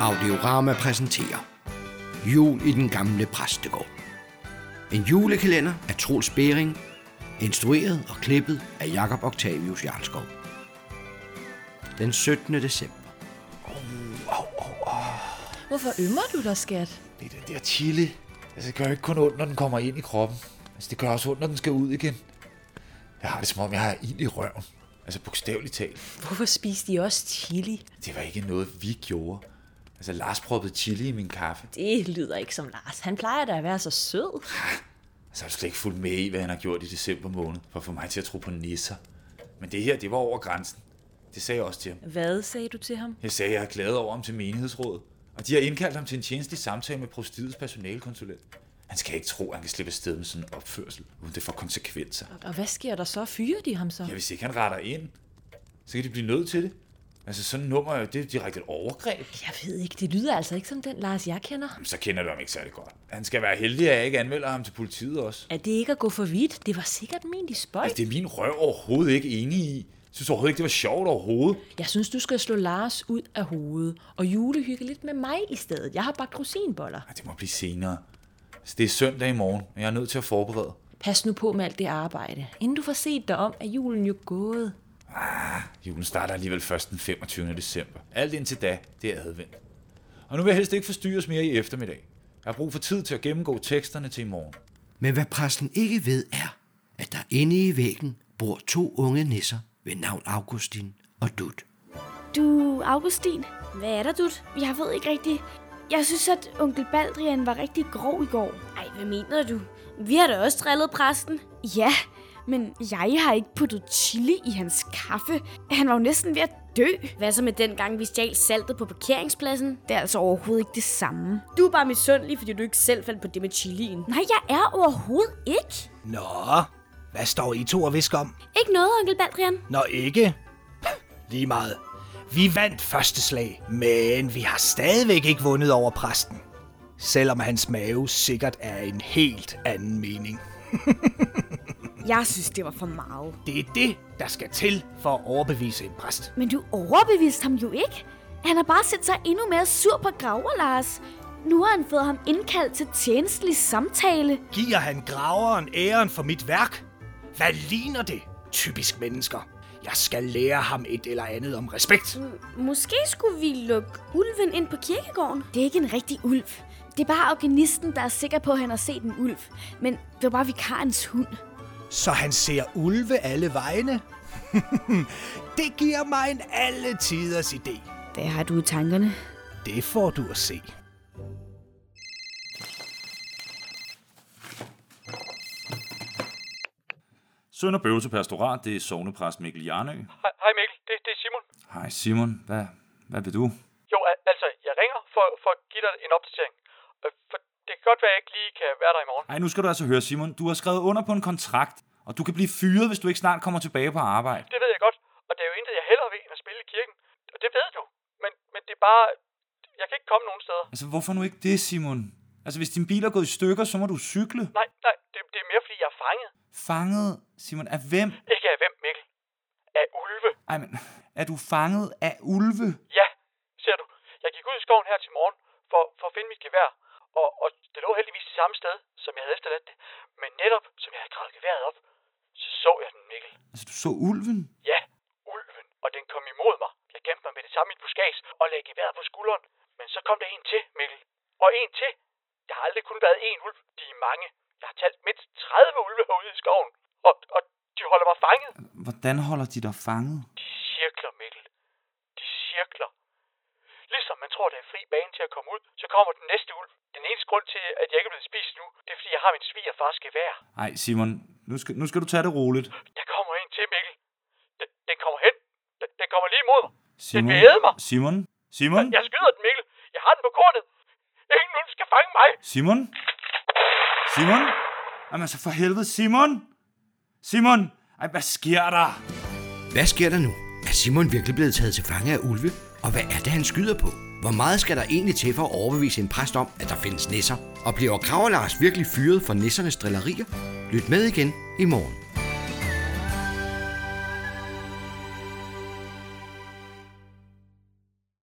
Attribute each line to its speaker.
Speaker 1: Audiorama præsenterer Jul i den gamle præstegård. En julekalender af Troels Bering, instrueret og klippet af Jakob Octavius Jarlskov. Den 17. december.
Speaker 2: Hvorfor ømmer du dig, skat?
Speaker 3: Det er den der chili. Altså, det gør jo ikke kun ondt, når den kommer ind i kroppen. Altså, det gør også ondt, når den skal ud igen. Jeg har det som om, jeg har ild i røven. Altså, bogstaveligt talt.
Speaker 2: Hvorfor spiste de også chili?
Speaker 3: Det var ikke noget, vi gjorde. Altså, Lars proppede chili i min kaffe.
Speaker 2: Det lyder ikke som Lars. Han plejer da at være så sød.
Speaker 3: Altså, har du slet ikke fulgt med i, hvad han har gjort i december måned, for at få mig til at tro på nisser. Men det her, det var over grænsen. Det sagde jeg også til ham.
Speaker 2: Hvad sagde du til ham?
Speaker 3: Jeg sagde, at jeg er glad over ham til menighedsrådet. Og de har indkaldt ham til en tjenestlig samtale med prostitutets personalekonsulent. Han skal ikke tro, at han kan slippe afsted med sådan en opførsel, uden det får konsekvenser.
Speaker 2: Og hvad sker der så? Fyrer de ham så?
Speaker 3: Ja, hvis ikke han retter ind, så kan de blive nødt til det. Altså sådan et nummer, er jo- det er jo direkte et overgreb.
Speaker 2: Jeg ved ikke. Det lyder altså ikke som den Lars, jeg kender.
Speaker 3: Jamen, så kender du ham ikke særlig godt. Han skal være heldig, at jeg ikke anmelder ham til politiet også.
Speaker 2: Er det ikke at gå for vidt? Det var sikkert ment i spøjt.
Speaker 3: Altså, det er min røv overhovedet ikke enig i. Jeg synes overhovedet ikke, det var sjovt overhovedet.
Speaker 2: Jeg synes, du skal slå Lars ud af hovedet og julehygge lidt med mig i stedet. Jeg har bagt rosinboller.
Speaker 3: Ej, det må blive senere. Altså, det er søndag i morgen, og jeg er nødt til at forberede.
Speaker 2: Pas nu på med alt det arbejde. Inden du får set dig om, er julen jo gået.
Speaker 3: Julen starter alligevel først den 25. december. Alt indtil da, det er advent. Og nu vil jeg helst ikke forstyrres mere i eftermiddag. Jeg har brug for tid til at gennemgå teksterne til i morgen.
Speaker 1: Men hvad præsten ikke ved er, at der inde i væggen bor to unge nisser ved navn Augustin og Dut.
Speaker 4: Du, Augustin,
Speaker 5: Hvad er der, Dut?
Speaker 4: jeg ved ikke rigtigt. Jeg synes, at onkel Baldrian var rigtig grov i går.
Speaker 5: Ej, hvad mener du? Vi har da også drillet præsten.
Speaker 4: Ja, men jeg har ikke puttet chili i hans kaffe. Han var jo næsten ved at dø.
Speaker 5: Hvad så med den gang, vi stjal saltet på parkeringspladsen?
Speaker 4: Det er altså overhovedet ikke det samme.
Speaker 5: Du er bare misundelig, fordi du ikke selv fandt på det med chilien.
Speaker 4: Nej, jeg er overhovedet ikke.
Speaker 6: Nå, hvad står I to og visker om?
Speaker 5: Ikke noget, onkel Baldrian.
Speaker 6: Nå, ikke? Lige meget. Vi vandt første slag, men vi har stadigvæk ikke vundet over præsten. Selvom hans mave sikkert er en helt anden mening.
Speaker 4: Jeg synes, det var for meget.
Speaker 6: Det er det, der skal til for at overbevise en præst.
Speaker 4: Men du overbeviste ham jo ikke. Han har bare set sig endnu mere sur på graver, Lars. Nu har han fået ham indkaldt til tjenestelig samtale.
Speaker 6: Giver han graveren æren for mit værk? Hvad ligner det? Typisk mennesker. Jeg skal lære ham et eller andet om respekt.
Speaker 5: Måske skulle vi lukke ulven ind på kirkegården.
Speaker 4: Det er ikke en rigtig ulv. Det er bare organisten, der er sikker på, at han har set en ulv. Men det var bare vikarens hund.
Speaker 6: Så han ser ulve alle vegne? det giver mig en alle tiders idé.
Speaker 4: Hvad har du i tankerne?
Speaker 6: Det får du at se.
Speaker 7: Sønder Bøvse Pastorat, det er sovnepræst Mikkel Jarnø.
Speaker 8: Hej- Hej Mikkel, det, det er Simon.
Speaker 7: Hej Simon, hvad, hvad vil du?
Speaker 8: Jo, al- altså, jeg ringer for, for at give dig en opdatering. Øh, For det kan godt være, at jeg ikke lige kan være der i morgen.
Speaker 7: Ej, nu skal du altså høre Simon, du har skrevet under på en kontrakt, og du kan blive fyret, hvis du ikke snart kommer tilbage på arbejde.
Speaker 8: Det ved jeg godt, og det er jo intet, jeg hellere ved end at spille i kirken. Og det ved du. Men, men det er bare... Jeg kan ikke komme nogen steder.
Speaker 7: Altså, hvorfor nu ikke det, Simon? Altså, hvis din bil er gået i stykker, så må du cykle.
Speaker 8: Nej, nej, det, det er mere, fordi jeg er fanget.
Speaker 7: Fanget, Simon, af hvem?
Speaker 8: Ikke af hvem, Mikkel. Af ulve.
Speaker 7: Ej, men, er du fanget af ulve?
Speaker 8: Ja, ser du. Jeg gik ud i skoven her til morgen for, for at finde mit gevær. Og, og det lå heldigvis det samme sted, som jeg havde efterladt det. Men netop, som jeg havde gravet geværet op, så så jeg den, Mikkel.
Speaker 7: Altså, du så ulven?
Speaker 8: Ja, ulven. Og den kom imod mig. Jeg gemte mig med det samme i et buskads og lagde geværet på skulderen. Men så kom der en til, Mikkel. Og en til. Der har aldrig kun været én ulv. De er mange. Jeg har talt mindst 30 ulve herude i skoven. Og, og de holder mig fanget.
Speaker 7: Hvordan holder de dig fanget?
Speaker 8: De cirkler, Mikkel. De cirkler. Ligesom man tror, der er fri bane til at komme ud, så kommer den næste ulv. Den eneste grund til, at jeg ikke er blevet spist nu, det er, fordi jeg har min svigerfars gevær.
Speaker 7: Ej, Simon, nu skal, nu skal du tage det roligt.
Speaker 8: Der kommer en til, Mikkel. Den, den kommer hen. Den, den kommer lige imod mig.
Speaker 7: Simon,
Speaker 8: vil æde mig.
Speaker 7: Simon, Simon,
Speaker 8: Jeg skyder den, Mikkel. Jeg har den på kortet. Ingen ulv skal fange mig.
Speaker 7: Simon? Simon? Jamen altså for helvede, Simon! Simon! Ej, hvad sker der?
Speaker 1: Hvad sker der nu? Er Simon virkelig blevet taget til fange af ulve? Og hvad er det, han skyder på? Hvor meget skal der egentlig til for at overbevise en præst om, at der findes nisser? Og bliver Krav Lars virkelig fyret for nissernes drillerier? Lyt med igen i morgen.